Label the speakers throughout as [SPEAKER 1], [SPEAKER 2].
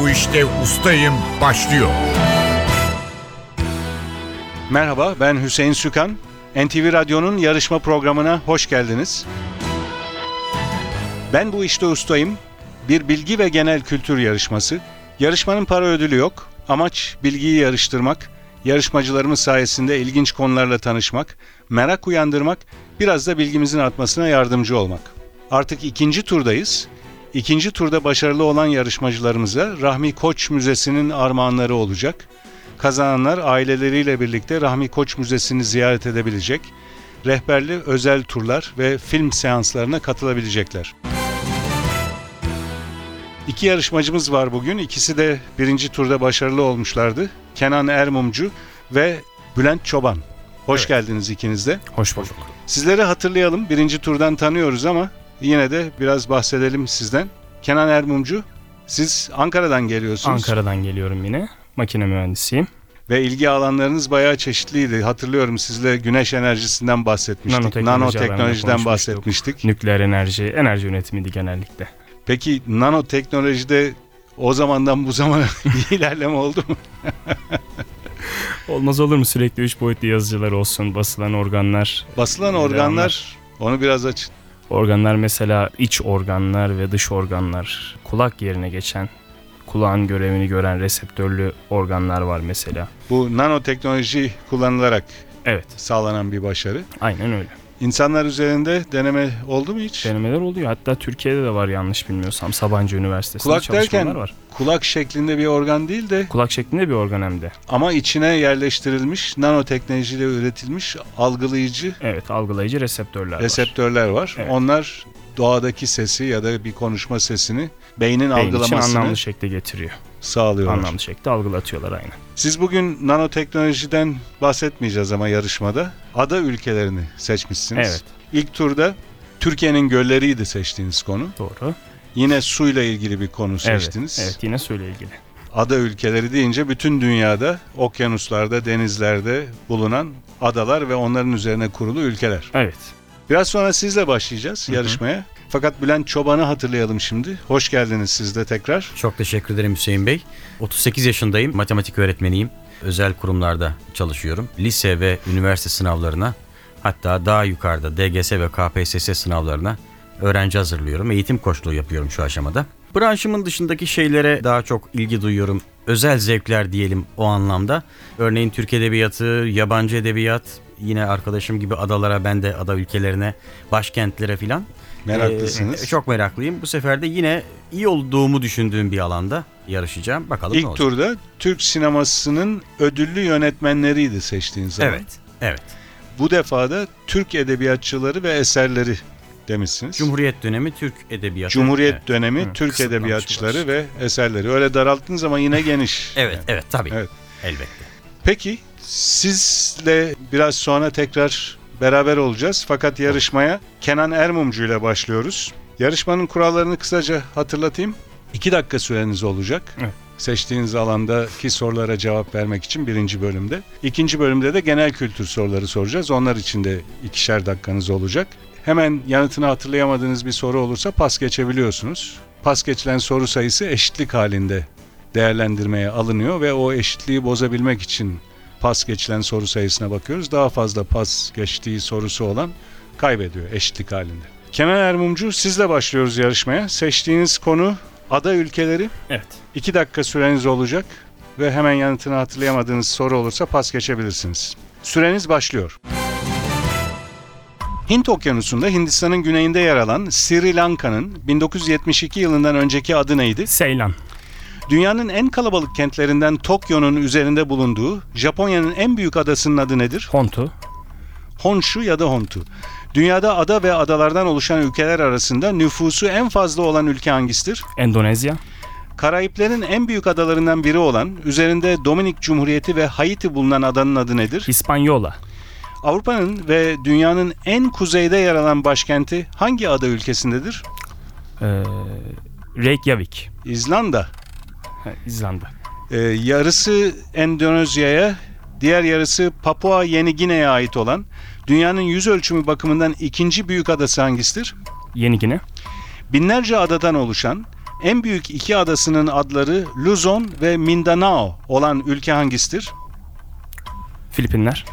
[SPEAKER 1] bu işte ustayım başlıyor.
[SPEAKER 2] Merhaba, ben Hüseyin Sükan. NTV Radyo'nun yarışma programına hoş geldiniz. Ben bu işte ustayım. Bir bilgi ve genel kültür yarışması. Yarışmanın para ödülü yok. Amaç bilgiyi yarıştırmak, yarışmacılarımız sayesinde ilginç konularla tanışmak, merak uyandırmak, biraz da bilgimizin artmasına yardımcı olmak. Artık ikinci turdayız. İkinci turda başarılı olan yarışmacılarımıza Rahmi Koç Müzesi'nin armağanları olacak. Kazananlar aileleriyle birlikte Rahmi Koç Müzesi'ni ziyaret edebilecek, rehberli özel turlar ve film seanslarına katılabilecekler. İki yarışmacımız var bugün. İkisi de birinci turda başarılı olmuşlardı. Kenan Ermumcu ve Bülent Çoban. Hoş geldiniz ikiniz de.
[SPEAKER 3] Hoş bulduk.
[SPEAKER 2] Sizleri hatırlayalım. Birinci turdan tanıyoruz ama yine de biraz bahsedelim sizden. Kenan Ermumcu, siz Ankara'dan geliyorsunuz.
[SPEAKER 3] Ankara'dan geliyorum yine. Makine mühendisiyim.
[SPEAKER 2] Ve ilgi alanlarınız bayağı çeşitliydi. Hatırlıyorum sizle güneş enerjisinden bahsetmiştik.
[SPEAKER 3] Nanoteknoloji
[SPEAKER 2] Nanoteknolojiden
[SPEAKER 3] alanında
[SPEAKER 2] bahsetmiştik.
[SPEAKER 3] Nükleer enerji, enerji yönetimiydi genellikle.
[SPEAKER 2] Peki nanoteknolojide o zamandan bu zamana bir ilerleme oldu mu?
[SPEAKER 3] Olmaz olur mu sürekli 3 boyutlu yazıcılar olsun, basılan organlar.
[SPEAKER 2] Basılan
[SPEAKER 3] İlerleme.
[SPEAKER 2] organlar onu biraz açın.
[SPEAKER 3] Organlar mesela iç organlar ve dış organlar. Kulak yerine geçen, kulağın görevini gören reseptörlü organlar var mesela.
[SPEAKER 2] Bu nanoteknoloji kullanılarak
[SPEAKER 3] Evet,
[SPEAKER 2] sağlanan bir başarı.
[SPEAKER 3] aynen öyle.
[SPEAKER 2] İnsanlar üzerinde deneme oldu mu hiç?
[SPEAKER 3] Denemeler oluyor. Hatta Türkiye'de de var yanlış bilmiyorsam. Sabancı Üniversitesi'nde
[SPEAKER 2] Kulak
[SPEAKER 3] çalışmalar
[SPEAKER 2] derken-
[SPEAKER 3] var.
[SPEAKER 2] Kulak şeklinde bir organ değil de
[SPEAKER 3] Kulak şeklinde bir organ hem de.
[SPEAKER 2] ama içine yerleştirilmiş nanoteknolojiyle üretilmiş algılayıcı
[SPEAKER 3] Evet, algılayıcı reseptörler var.
[SPEAKER 2] reseptörler var.
[SPEAKER 3] Evet.
[SPEAKER 2] Onlar doğadaki sesi ya da bir konuşma sesini beynin,
[SPEAKER 3] Beyin için
[SPEAKER 2] algılamasını
[SPEAKER 3] anlamlı şekilde getiriyor.
[SPEAKER 2] sağlıyorlar.
[SPEAKER 3] Anlamlı şekilde algılatıyorlar aynı.
[SPEAKER 2] Siz bugün nanoteknolojiden bahsetmeyeceğiz ama yarışmada ada ülkelerini seçmişsiniz.
[SPEAKER 3] Evet,
[SPEAKER 2] İlk turda Türkiye'nin gölleriydi seçtiğiniz konu.
[SPEAKER 3] doğru.
[SPEAKER 2] Yine suyla ilgili bir konu seçtiniz.
[SPEAKER 3] Evet, evet yine söyle ilgili.
[SPEAKER 2] Ada ülkeleri deyince bütün dünyada okyanuslarda, denizlerde bulunan adalar ve onların üzerine kurulu ülkeler.
[SPEAKER 3] Evet.
[SPEAKER 2] Biraz sonra sizle başlayacağız yarışmaya. Fakat Bülent Çoban'ı hatırlayalım şimdi. Hoş geldiniz siz de tekrar.
[SPEAKER 4] Çok teşekkür ederim Hüseyin Bey. 38 yaşındayım, matematik öğretmeniyim. Özel kurumlarda çalışıyorum. Lise ve üniversite sınavlarına hatta daha yukarıda DGS ve KPSS sınavlarına öğrenci hazırlıyorum. Eğitim koçluğu yapıyorum şu aşamada. Branşımın dışındaki şeylere daha çok ilgi duyuyorum. Özel zevkler diyelim o anlamda. Örneğin Türk Edebiyatı, yabancı edebiyat, yine arkadaşım gibi adalara, ben de ada ülkelerine, başkentlere filan
[SPEAKER 2] Meraklısınız.
[SPEAKER 4] ee, çok meraklıyım. Bu sefer de yine iyi olduğumu düşündüğüm bir alanda yarışacağım. Bakalım ne
[SPEAKER 2] İlk
[SPEAKER 4] olacak.
[SPEAKER 2] turda Türk sinemasının ödüllü yönetmenleriydi seçtiğiniz zaman.
[SPEAKER 4] Evet. Evet.
[SPEAKER 2] Bu defa da Türk edebiyatçıları ve eserleri demişsiniz.
[SPEAKER 4] Cumhuriyet dönemi Türk edebiyatı.
[SPEAKER 2] Cumhuriyet
[SPEAKER 4] Evet.
[SPEAKER 2] dönemi
[SPEAKER 3] Hı,
[SPEAKER 2] Türk
[SPEAKER 3] kısıtlamış
[SPEAKER 2] edebiyatçıları
[SPEAKER 3] biraz.
[SPEAKER 2] ve eserleri. Öyle daralttınız ama yine geniş.
[SPEAKER 4] Evet, evet tabii.
[SPEAKER 2] Evet.
[SPEAKER 4] Elbette.
[SPEAKER 2] Peki sizle biraz sonra tekrar beraber olacağız. Fakat yarışmaya Kenan Ermumcu ile başlıyoruz. Yarışmanın kurallarını kısaca hatırlatayım. 2 dakika süreniz olacak.
[SPEAKER 3] Evet.
[SPEAKER 2] Seçtiğiniz alandaki sorulara cevap vermek için birinci bölümde. İkinci bölümde de genel kültür soruları soracağız. Onlar için de ikişer dakikanız olacak. Hemen yanıtını hatırlayamadığınız bir soru olursa pas geçebiliyorsunuz. Pas geçilen soru sayısı eşitlik halinde değerlendirmeye alınıyor ve o eşitliği bozabilmek için pas geçilen soru sayısına bakıyoruz. Daha fazla pas geçtiği sorusu olan kaybediyor eşitlik halinde. Kenan Ermumcu sizle başlıyoruz yarışmaya. Seçtiğiniz konu ada ülkeleri.
[SPEAKER 3] Evet.
[SPEAKER 2] 2 dakika süreniz olacak ve hemen yanıtını hatırlayamadığınız soru olursa pas geçebilirsiniz. Süreniz başlıyor. Hint Okyanusu'nda Hindistan'ın güneyinde yer alan Sri Lanka'nın 1972 yılından önceki adı neydi?
[SPEAKER 3] Seylan.
[SPEAKER 2] Dünyanın en kalabalık kentlerinden Tokyo'nun üzerinde bulunduğu Japonya'nın en büyük adasının adı nedir?
[SPEAKER 3] Hontu.
[SPEAKER 2] Honshu ya da Hontu. Dünyada ada ve adalardan oluşan ülkeler arasında nüfusu en fazla olan ülke hangisidir?
[SPEAKER 3] Endonezya.
[SPEAKER 2] Karayiplerin en büyük adalarından biri olan, üzerinde Dominik Cumhuriyeti ve Haiti bulunan adanın adı nedir?
[SPEAKER 3] İspanyola.
[SPEAKER 2] Avrupa'nın ve dünyanın en kuzeyde yer alan başkenti hangi ada ülkesindedir?
[SPEAKER 3] Ee, Reykjavik.
[SPEAKER 2] İzlanda.
[SPEAKER 3] Ha, İzlanda.
[SPEAKER 2] Ee, yarısı Endonezya'ya, diğer yarısı Papua Yeni Gine'ye ait olan dünyanın yüz ölçümü bakımından ikinci büyük adası hangisidir?
[SPEAKER 3] Yeni Gine.
[SPEAKER 2] Binlerce adadan oluşan En büyük iki adasının adları Luzon ve Mindanao olan ülke hangisidir?
[SPEAKER 3] Filipinler,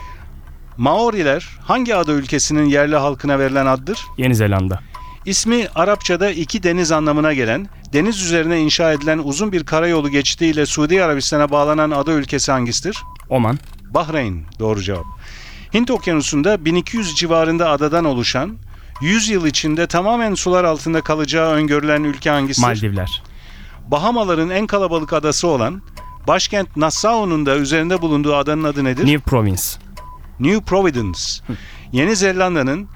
[SPEAKER 2] Maoriler hangi ada ülkesinin yerli halkına verilen addır?
[SPEAKER 3] Yeni Zelanda,
[SPEAKER 2] İsmi Arapçada iki deniz anlamına gelen, deniz üzerine inşa edilen uzun bir karayolu geçtiğiyle Suudi Arabistan'a bağlanan ada ülkesi hangisidir?
[SPEAKER 3] Oman,
[SPEAKER 2] Bahreyn doğru cevap. Hint Okyanusu'nda 1200 civarında adadan oluşan, 100 yıl içinde tamamen sular altında kalacağı öngörülen ülke hangisidir?
[SPEAKER 3] Maldivler,
[SPEAKER 2] Bahamaların en kalabalık adası olan, başkent Nassau'nun da üzerinde bulunduğu adanın adı nedir?
[SPEAKER 3] New Province,
[SPEAKER 2] New Providence. Yeni Zelanda'nın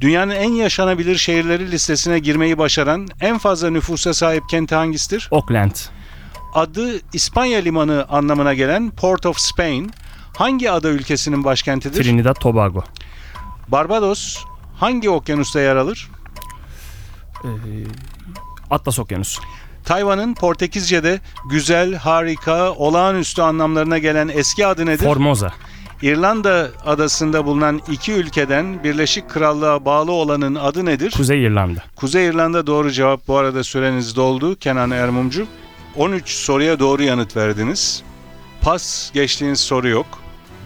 [SPEAKER 2] dünyanın en yaşanabilir şehirleri listesine girmeyi başaran en fazla nüfusa sahip kenti hangisidir?
[SPEAKER 3] Auckland,
[SPEAKER 2] Adı İspanya limanı anlamına gelen Port of Spain hangi ada ülkesinin başkentidir?
[SPEAKER 3] Trinidad Tobago,
[SPEAKER 2] Barbados hangi okyanusta yer alır?
[SPEAKER 3] ee, Atlas Okyanusu,
[SPEAKER 2] Tayvan'ın Portekizce'de güzel, harika, olağanüstü anlamlarına gelen eski adı nedir?
[SPEAKER 3] Formosa,
[SPEAKER 2] İrlanda adasında bulunan iki ülkeden Birleşik Krallığa bağlı olanın adı nedir?
[SPEAKER 3] Kuzey İrlanda.
[SPEAKER 2] Kuzey İrlanda doğru cevap. Bu arada süreniz doldu Kenan Ermumcu. 13 soruya doğru yanıt verdiniz. Pas geçtiğiniz soru yok.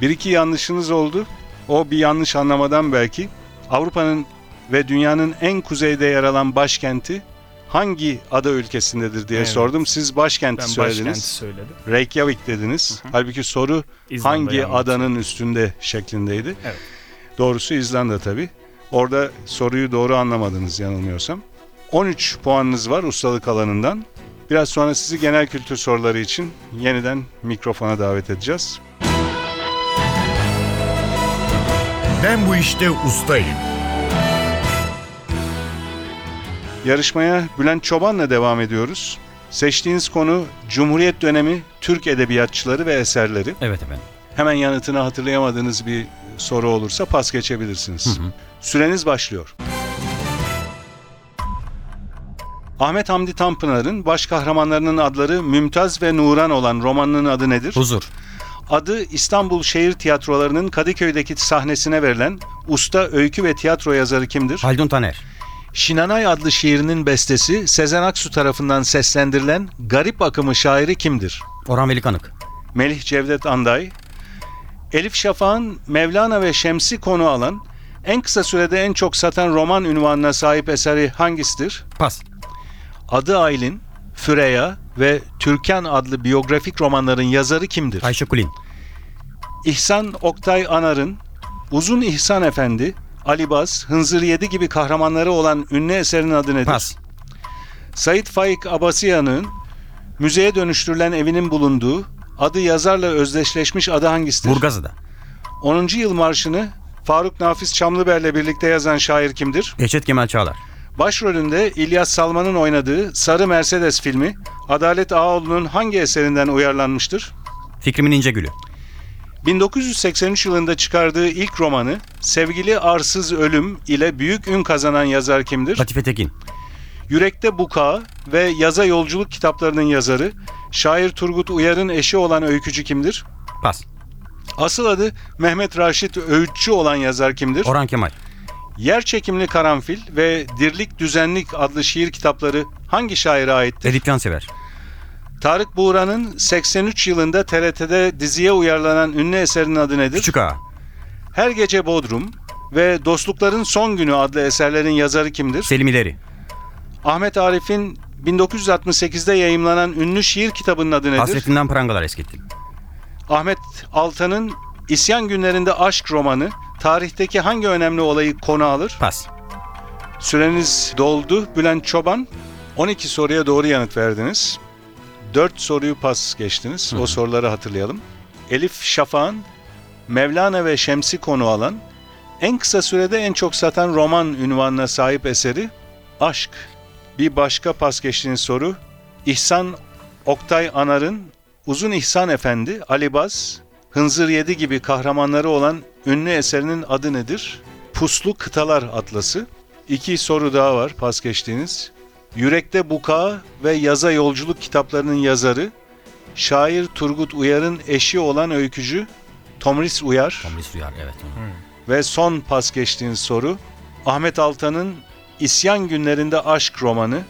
[SPEAKER 2] Bir iki yanlışınız oldu. O bir yanlış anlamadan belki. Avrupa'nın ve dünyanın en kuzeyde yer alan başkenti hangi ada ülkesindedir diye
[SPEAKER 3] Evet.
[SPEAKER 2] sordum. Siz başkenti
[SPEAKER 3] Ben
[SPEAKER 2] söylediniz.
[SPEAKER 3] başkenti söyledim.
[SPEAKER 2] Reykjavik dediniz. Halbuki soru
[SPEAKER 3] İzlanda
[SPEAKER 2] hangi
[SPEAKER 3] yanlış.
[SPEAKER 2] adanın üstünde şeklindeydi.
[SPEAKER 3] Evet.
[SPEAKER 2] Doğrusu İzlanda tabii. Orada soruyu doğru anlamadınız yanılmıyorsam. 13 puanınız var ustalık alanından. Biraz sonra sizi genel kültür soruları için yeniden mikrofona davet edeceğiz.
[SPEAKER 1] Ben bu işte ustayım.
[SPEAKER 2] Yarışmaya Bülent Çoban'la devam ediyoruz. Seçtiğiniz konu Cumhuriyet dönemi Türk edebiyatçıları ve eserleri.
[SPEAKER 4] Evet efendim.
[SPEAKER 2] Hemen yanıtını hatırlayamadığınız bir soru olursa pas geçebilirsiniz. Süreniz başlıyor. Ahmet Hamdi Tanpınar'ın baş kahramanlarının adları Mümtaz ve Nuran olan romanının adı nedir?
[SPEAKER 4] Huzur.
[SPEAKER 2] Adı İstanbul Şehir Tiyatroları'nın Kadıköy'deki sahnesine verilen usta öykü ve tiyatro yazarı kimdir?
[SPEAKER 4] Haldun Taner.
[SPEAKER 2] Şinanay adlı şiirinin bestesi Sezen Aksu tarafından seslendirilen Garip Akımı şairi kimdir?
[SPEAKER 4] Orhan Veli Kanık.
[SPEAKER 2] Melih Cevdet Anday, Elif Şafak'ın Mevlana ve Şems'i konu alan, en kısa sürede en çok satan roman ünvanına sahip eseri hangisidir?
[SPEAKER 4] Pas.
[SPEAKER 2] Adı Aylin, Füreya ve Türkan adlı biyografik romanların yazarı kimdir?
[SPEAKER 4] Ayşe Kulin.
[SPEAKER 2] İhsan Oktay Anar'ın Uzun İhsan Efendi, Ali Baz, Hınzır Yedi gibi kahramanları olan ünlü eserin adı nedir?
[SPEAKER 4] Pas.
[SPEAKER 2] Sait Faik Abasıyan'ın müzeye dönüştürülen evinin bulunduğu, adı yazarla özdeşleşmiş adı hangisidir?
[SPEAKER 4] Burgazı'da.
[SPEAKER 2] 10. Yıl Marşı'nı Faruk Nafiz Çamlıber'le birlikte yazan şair kimdir?
[SPEAKER 4] Eşet Kemal Çağlar.
[SPEAKER 2] Başrolünde İlyas Salman'ın oynadığı Sarı Mercedes filmi Adalet Ağaoğlu'nun hangi eserinden uyarlanmıştır?
[SPEAKER 4] Fikrimin İnce Gülü.
[SPEAKER 2] 1983 yılında çıkardığı ilk romanı Sevgili Arsız Ölüm ile büyük ün kazanan yazar kimdir?
[SPEAKER 4] Latife Tekin.
[SPEAKER 2] Yürekte Bukağı ve Yaza Yolculuk kitaplarının yazarı, şair Turgut Uyar'ın eşi olan öykücü kimdir?
[SPEAKER 4] Pas.
[SPEAKER 2] Asıl adı Mehmet Raşit Öğütçü olan yazar kimdir?
[SPEAKER 4] Orhan Kemal.
[SPEAKER 2] Yer çekimli karanfil ve Dirlik Düzenlik adlı şiir kitapları hangi şaire aittir?
[SPEAKER 4] Edip Cansever.
[SPEAKER 2] Tarık Buğra'nın 83 yılında TRT'de diziye uyarlanan ünlü eserinin adı nedir?
[SPEAKER 4] Küçük Ağa.
[SPEAKER 2] Her Gece Bodrum ve Dostlukların Son Günü adlı eserlerin yazarı kimdir?
[SPEAKER 4] Selim İleri.
[SPEAKER 2] Ahmet Arif'in 1968'de yayımlanan ünlü şiir kitabının adı nedir?
[SPEAKER 4] Hasretinden prangalar eskittim.
[SPEAKER 2] Ahmet Altan'ın İsyan Günlerinde Aşk romanı tarihteki hangi önemli olayı konu alır?
[SPEAKER 4] Pas.
[SPEAKER 2] Süreniz doldu. Bülent Çoban 12 soruya doğru yanıt verdiniz. 4 soruyu pas geçtiniz. O soruları hatırlayalım. Elif Şafak'ın Mevlana ve Şems'i konu alan en kısa sürede en çok satan roman ünvanına sahip eseri Aşk. Bir başka pas geçtiğiniz soru İhsan Oktay Anar'ın Uzun İhsan Efendi, Ali Baz, Hınzır Yedi gibi kahramanları olan ünlü eserinin adı nedir? Puslu Kıtalar Atlası. İki soru daha var pas geçtiğiniz. Yürekte Buka ve Yaza Yolculuk kitaplarının yazarı, şair Turgut Uyar'ın eşi olan öykücü Tomris Uyar.
[SPEAKER 4] Tomris Rüyar evet.
[SPEAKER 2] Ve son pas geçtiğiniz soru Ahmet Altan'ın İsyan Günlerinde Aşk romanı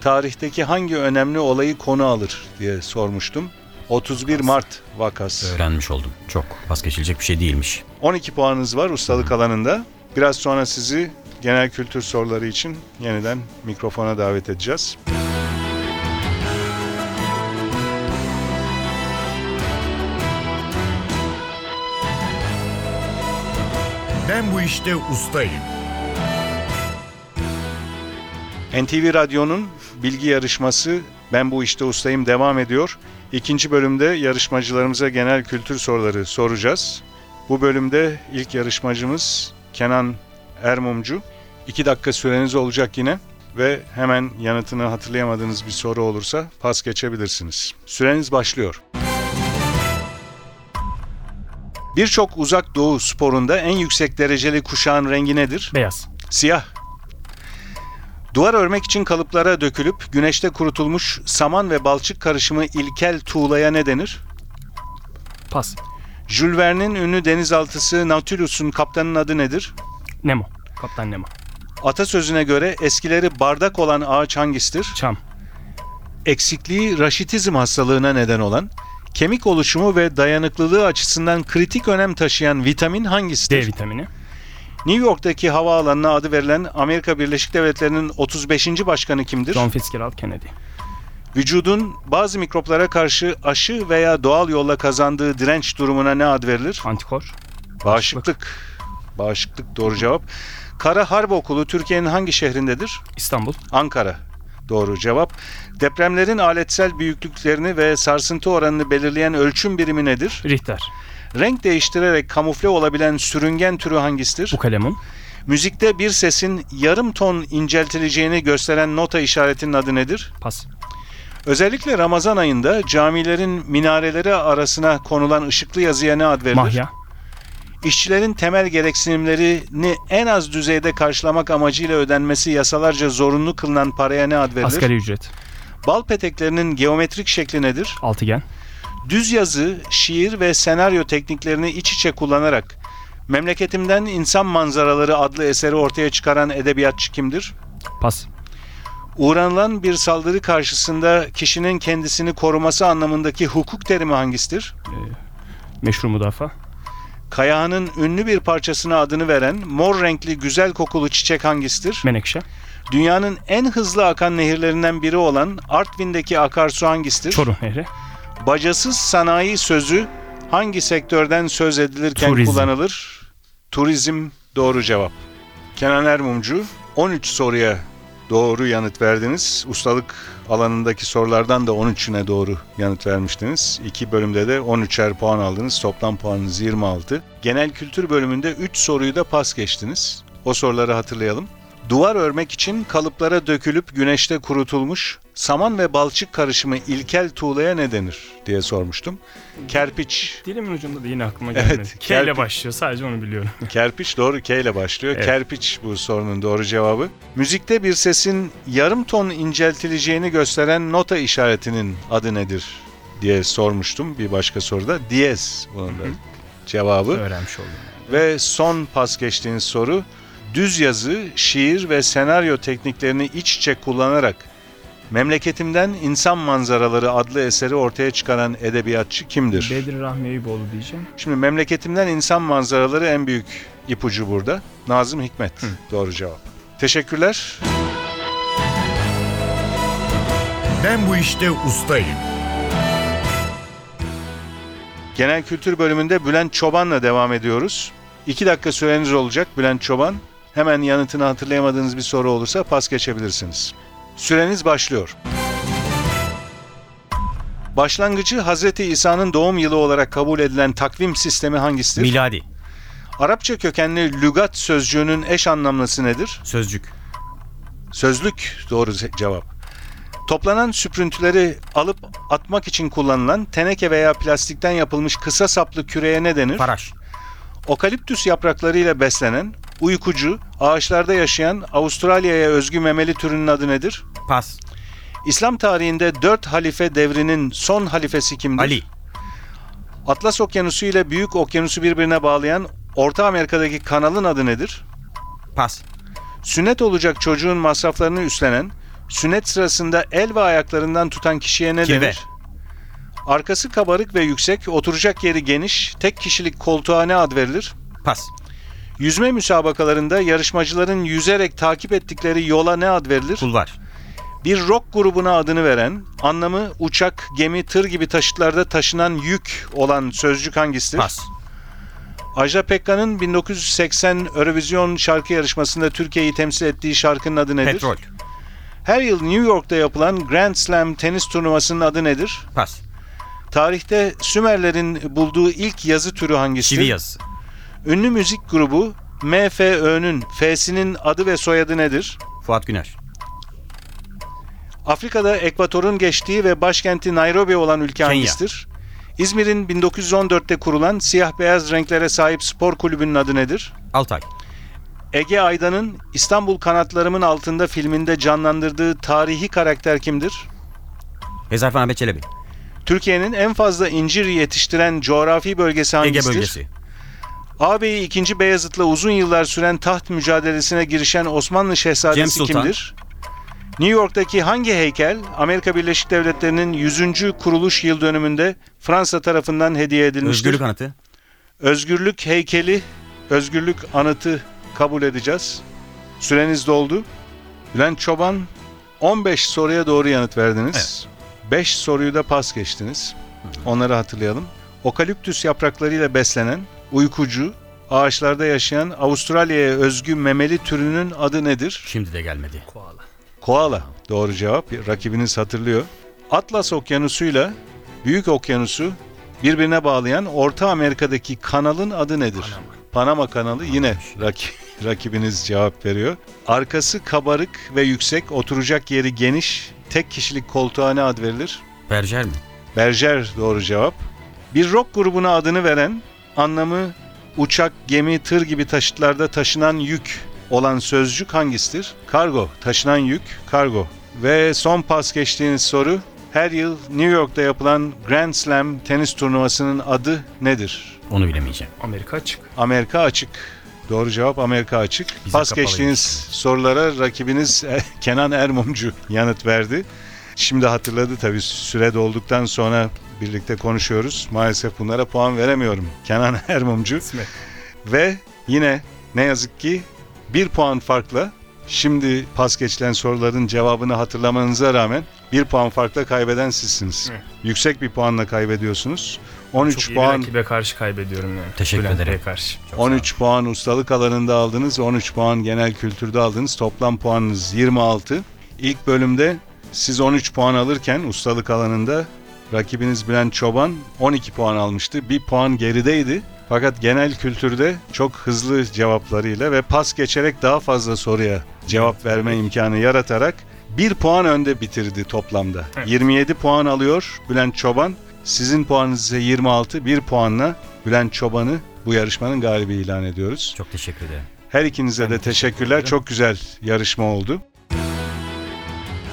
[SPEAKER 2] tarihteki hangi önemli olayı konu alır diye sormuştum. 31 Mart vakası.
[SPEAKER 4] Öğrenmiş oldum. Çok pas geçilecek bir şey değilmiş.
[SPEAKER 2] 12 puanınız var ustalık alanında. Biraz sonra sizi genel kültür soruları için yeniden mikrofona davet edeceğiz.
[SPEAKER 1] Ben bu işte ustayım.
[SPEAKER 2] NTV Radyo'nun bilgi yarışması Ben Bu İşte Ustayım devam ediyor. İkinci bölümde yarışmacılarımıza genel kültür soruları soracağız. Bu bölümde ilk yarışmacımız Kenan Ermumcu. İki dakika süreniz olacak yine ve hemen yanıtını hatırlayamadığınız bir soru olursa pas geçebilirsiniz. Süreniz başlıyor. Birçok uzak doğu sporunda en yüksek dereceli kuşağın rengi nedir?
[SPEAKER 3] Beyaz.
[SPEAKER 2] Siyah. Duvar örmek için kalıplara dökülüp güneşte kurutulmuş saman ve balçık karışımı ilkel tuğlaya ne denir?
[SPEAKER 3] Pas.
[SPEAKER 2] Jules Verne'in ünlü denizaltısı Nautilus'un kaptanın adı nedir?
[SPEAKER 3] Nemo. Kaptan Nemo.
[SPEAKER 2] Atasözüne göre eskileri bardak olan ağaç hangisidir?
[SPEAKER 3] Çam.
[SPEAKER 2] Eksikliği raşitizm hastalığına neden olan, kemik oluşumu ve dayanıklılığı açısından kritik önem taşıyan vitamin hangisidir?
[SPEAKER 3] D vitamini.
[SPEAKER 2] New York'taki havaalanına adı verilen Amerika Birleşik Devletleri'nin 35. başkanı kimdir?
[SPEAKER 3] John Fitzgerald Kennedy.
[SPEAKER 2] Vücudun bazı mikroplara karşı aşı veya doğal yolla kazandığı direnç durumuna ne ad verilir?
[SPEAKER 3] Antikor.
[SPEAKER 2] Bağışıklık. Bağışıklık doğru cevap. Kara Harp Okulu Türkiye'nin hangi şehrindedir?
[SPEAKER 3] İstanbul.
[SPEAKER 2] Ankara. Doğru cevap. Depremlerin aletsel büyüklüklerini ve sarsıntı oranını belirleyen ölçüm birimi nedir?
[SPEAKER 3] Richter.
[SPEAKER 2] Renk değiştirerek kamufle olabilen sürüngen türü hangisidir?
[SPEAKER 3] Bu kalemun.
[SPEAKER 2] Müzikte bir sesin yarım ton inceltileceğini gösteren nota işaretinin adı nedir?
[SPEAKER 3] Pas.
[SPEAKER 2] Özellikle Ramazan ayında camilerin minareleri arasına konulan ışıklı yazıya ne ad verilir?
[SPEAKER 3] Mahya.
[SPEAKER 2] İşçilerin temel gereksinimlerini en az düzeyde karşılamak amacıyla ödenmesi yasalarca zorunlu kılınan paraya ne ad verilir?
[SPEAKER 3] Asgari ücret.
[SPEAKER 2] Bal peteklerinin geometrik şekli nedir?
[SPEAKER 3] Altıgen.
[SPEAKER 2] Düz yazı, şiir ve senaryo tekniklerini iç içe kullanarak Memleketimden İnsan Manzaraları adlı eseri ortaya çıkaran edebiyatçı kimdir?
[SPEAKER 3] Pas.
[SPEAKER 2] Uğranılan bir saldırı karşısında kişinin kendisini koruması anlamındaki hukuk terimi hangisidir?
[SPEAKER 3] Meşru müdafaa.
[SPEAKER 2] Kayağının ünlü bir parçasına adını veren mor renkli güzel kokulu çiçek hangisidir?
[SPEAKER 3] Menekşe.
[SPEAKER 2] Dünyanın en hızlı akan nehirlerinden biri olan Artvin'deki akarsu hangisidir?
[SPEAKER 3] Çorum Nehri.
[SPEAKER 2] Bacasız sanayi sözü hangi sektörden söz edilirken
[SPEAKER 3] Turizm.
[SPEAKER 2] kullanılır? Turizm doğru cevap. Kenan Ermumcu 13 soruya doğru yanıt verdiniz. Ustalık alanındaki sorulardan da 13'üne doğru yanıt vermiştiniz. İki bölümde de 13'er puan aldınız. Toplam puanınız 26. Genel kültür bölümünde 3 soruyu da pas geçtiniz. O soruları hatırlayalım. Duvar örmek için kalıplara dökülüp güneşte kurutulmuş saman ve balçık karışımı ilkel tuğlaya ne denir diye sormuştum. Kerpiç.
[SPEAKER 3] Dilimin ucunda da yine aklıma
[SPEAKER 2] Evet,
[SPEAKER 3] gelmedi. K ile
[SPEAKER 2] kelpi-
[SPEAKER 3] başlıyor. Sadece onu biliyorum.
[SPEAKER 2] Kerpiç doğru K ile başlıyor.
[SPEAKER 3] Evet.
[SPEAKER 2] Kerpiç bu sorunun doğru cevabı. Müzikte bir sesin yarım ton inceltileceğini gösteren nota işaretinin adı nedir diye sormuştum bir başka soruda. Diyez bunun da cevabı.
[SPEAKER 3] Öğrenmiş oldum.
[SPEAKER 2] Ve son pas geçtiğiniz soru düz yazı, şiir ve senaryo tekniklerini iç içe kullanarak Memleketimden İnsan Manzaraları adlı eseri ortaya çıkaran edebiyatçı kimdir?
[SPEAKER 3] Bedri Rahmi Eyüboğlu diyeceğim.
[SPEAKER 2] Şimdi Memleketimden İnsan Manzaraları en büyük ipucu burada. Nazım Hikmet. Doğru cevap. Teşekkürler.
[SPEAKER 1] Ben bu işte ustayım.
[SPEAKER 2] Genel kültür bölümünde Bülent Çoban'la devam ediyoruz. İki dakika süreniz olacak Bülent Çoban. Hemen yanıtını hatırlayamadığınız bir soru olursa pas geçebilirsiniz. Süreniz başlıyor. Başlangıcı Hz. İsa'nın doğum yılı olarak kabul edilen takvim sistemi hangisidir?
[SPEAKER 4] Miladi.
[SPEAKER 2] Arapça kökenli lügat sözcüğünün eş anlamlısı nedir?
[SPEAKER 4] Sözcük.
[SPEAKER 2] Sözlük doğru ze- cevap. Toplanan süprüntüleri alıp atmak için kullanılan teneke veya plastikten yapılmış kısa saplı küreye ne denir?
[SPEAKER 4] Faraş.
[SPEAKER 2] Okaliptüs yapraklarıyla beslenen, uykucu, ağaçlarda yaşayan Avustralya'ya özgü memeli türünün adı nedir?
[SPEAKER 4] Pas.
[SPEAKER 2] İslam tarihinde 4 halife devrinin son halifesi kimdir?
[SPEAKER 4] Ali.
[SPEAKER 2] Atlas Okyanusu ile Büyük Okyanusu birbirine bağlayan Orta Amerika'daki kanalın adı nedir?
[SPEAKER 4] Pas.
[SPEAKER 2] Sünnet olacak çocuğun masraflarını üstlenen, Sünnet sırasında el ve ayaklarından tutan kişiye ne
[SPEAKER 4] Kibe.
[SPEAKER 2] denir? Arkası kabarık ve yüksek, oturacak yeri geniş, tek kişilik koltuğa ne ad verilir?
[SPEAKER 4] Pas.
[SPEAKER 2] Yüzme müsabakalarında yarışmacıların yüzerek takip ettikleri yola ne ad verilir?
[SPEAKER 4] Kulvar.
[SPEAKER 2] Bir rock grubuna adını veren, anlamı uçak, gemi, tır gibi taşıtlarda taşınan yük olan sözcük hangisidir?
[SPEAKER 4] Pas.
[SPEAKER 2] Ajda Pekka'nın 1980 Eurovision şarkı yarışmasında Türkiye'yi temsil ettiği şarkının adı nedir?
[SPEAKER 4] Petrol.
[SPEAKER 2] Her yıl New York'ta yapılan Grand Slam tenis turnuvasının adı nedir?
[SPEAKER 4] Pas.
[SPEAKER 2] Tarihte Sümerlerin bulduğu ilk yazı türü hangisidir?
[SPEAKER 4] Çivi yazısı.
[SPEAKER 2] Ünlü müzik grubu MFÖ'nün F'sinin adı ve soyadı nedir?
[SPEAKER 4] Fuat Güner.
[SPEAKER 2] Afrika'da Ekvator'un geçtiği ve başkenti Nairobi olan ülke
[SPEAKER 4] Kenya.
[SPEAKER 2] hangisidir? İzmir'in 1914'te kurulan siyah beyaz renklere sahip spor kulübünün adı nedir?
[SPEAKER 4] Altay.
[SPEAKER 2] Ege Aydan'ın İstanbul Kanatlarımın Altında filminde canlandırdığı tarihi karakter kimdir?
[SPEAKER 4] Hezarfen Ahmet Çelebi.
[SPEAKER 2] Türkiye'nin en fazla incir yetiştiren coğrafi bölgesi
[SPEAKER 4] Ege
[SPEAKER 2] hangisidir?
[SPEAKER 4] bölgesi.
[SPEAKER 2] Ağabeyi 2. Beyazıt'la uzun yıllar süren taht mücadelesine girişen Osmanlı
[SPEAKER 4] Cem
[SPEAKER 2] şehzadesi
[SPEAKER 4] Sultan.
[SPEAKER 2] kimdir? New York'taki hangi heykel Amerika Birleşik Devletleri'nin 100. kuruluş yıl dönümünde Fransa tarafından hediye edilmiştir?
[SPEAKER 4] Özgürlük anıtı.
[SPEAKER 2] Özgürlük heykeli, özgürlük anıtı kabul edeceğiz. Süreniz doldu. Bülent Çoban 15 soruya doğru yanıt verdiniz. 5 soruyu da pas geçtiniz. Onları hatırlayalım. Okaliptüs yapraklarıyla beslenen, uykucu, ağaçlarda yaşayan Avustralya'ya özgü memeli türünün adı nedir?
[SPEAKER 4] Şimdi de gelmedi.
[SPEAKER 3] Koala.
[SPEAKER 2] Koala. Doğru cevap. Rakibiniz hatırlıyor. Atlas Okyanusu'yla Büyük Okyanusu birbirine bağlayan Orta Amerika'daki kanalın adı nedir? Panama, kanalı yine raki- rakibiniz cevap veriyor. Arkası kabarık ve yüksek, oturacak yeri geniş, tek kişilik koltuğa ne ad verilir?
[SPEAKER 4] Berjer mi?
[SPEAKER 2] Berger doğru cevap. Bir rock grubuna adını veren, anlamı uçak, gemi, tır gibi taşıtlarda taşınan yük olan sözcük hangisidir? Kargo, taşınan yük, kargo. Ve son pas geçtiğiniz soru, her yıl New York'ta yapılan Grand Slam tenis turnuvasının adı nedir?
[SPEAKER 4] Onu bilemeyeceğim.
[SPEAKER 3] Amerika açık.
[SPEAKER 2] Amerika açık. Doğru cevap Amerika açık.
[SPEAKER 4] Bize
[SPEAKER 2] Pas
[SPEAKER 4] kapalıymış.
[SPEAKER 2] geçtiğiniz sorulara rakibiniz e, Kenan Ermumcu yanıt verdi. Şimdi hatırladı tabii süre dolduktan sonra birlikte konuşuyoruz. Maalesef bunlara puan veremiyorum. Kenan Ermumcu
[SPEAKER 3] İsmet.
[SPEAKER 2] ve yine ne yazık ki bir puan farkla şimdi pas geçilen soruların cevabını hatırlamanıza rağmen bir puan farkla kaybeden sizsiniz.
[SPEAKER 3] Evet.
[SPEAKER 2] Yüksek bir puanla kaybediyorsunuz.
[SPEAKER 3] Çok
[SPEAKER 2] 13
[SPEAKER 3] iyi bir
[SPEAKER 2] puan
[SPEAKER 3] rakibe karşı kaybediyorum yani.
[SPEAKER 4] Teşekkür
[SPEAKER 3] Bülent
[SPEAKER 4] ederim.
[SPEAKER 3] Bey'e karşı.
[SPEAKER 4] Çok sağ ol.
[SPEAKER 2] 13 puan ustalık alanında aldınız, 13 puan genel kültürde aldınız. Toplam puanınız 26. İlk bölümde siz 13 puan alırken ustalık alanında rakibiniz Bülent Çoban 12 puan almıştı. Bir puan gerideydi. Fakat genel kültürde çok hızlı cevaplarıyla ve pas geçerek daha fazla soruya cevap verme imkanı yaratarak 1 puan önde bitirdi toplamda. 27 puan alıyor Bülent Çoban. Sizin puanınız ise 26. 1 puanla Bülent Çoban'ı bu yarışmanın galibi ilan ediyoruz.
[SPEAKER 4] Çok teşekkür ederim.
[SPEAKER 2] Her ikinize de teşekkürler. Çok güzel yarışma oldu.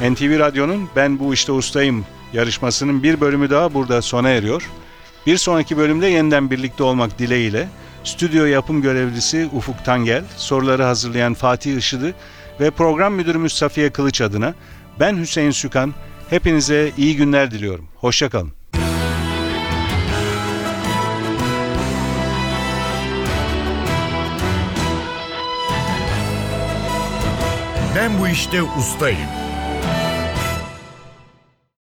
[SPEAKER 2] NTV Radyo'nun Ben Bu İşte Ustayım yarışmasının bir bölümü daha burada sona eriyor. Bir sonraki bölümde yeniden birlikte olmak dileğiyle stüdyo yapım görevlisi Ufuk Tangel, soruları hazırlayan Fatih Işıdı ve program müdürümüz Safiye Kılıç adına ben Hüseyin Sükan, hepinize iyi günler diliyorum. Hoşçakalın.
[SPEAKER 1] Ben bu işte ustayım.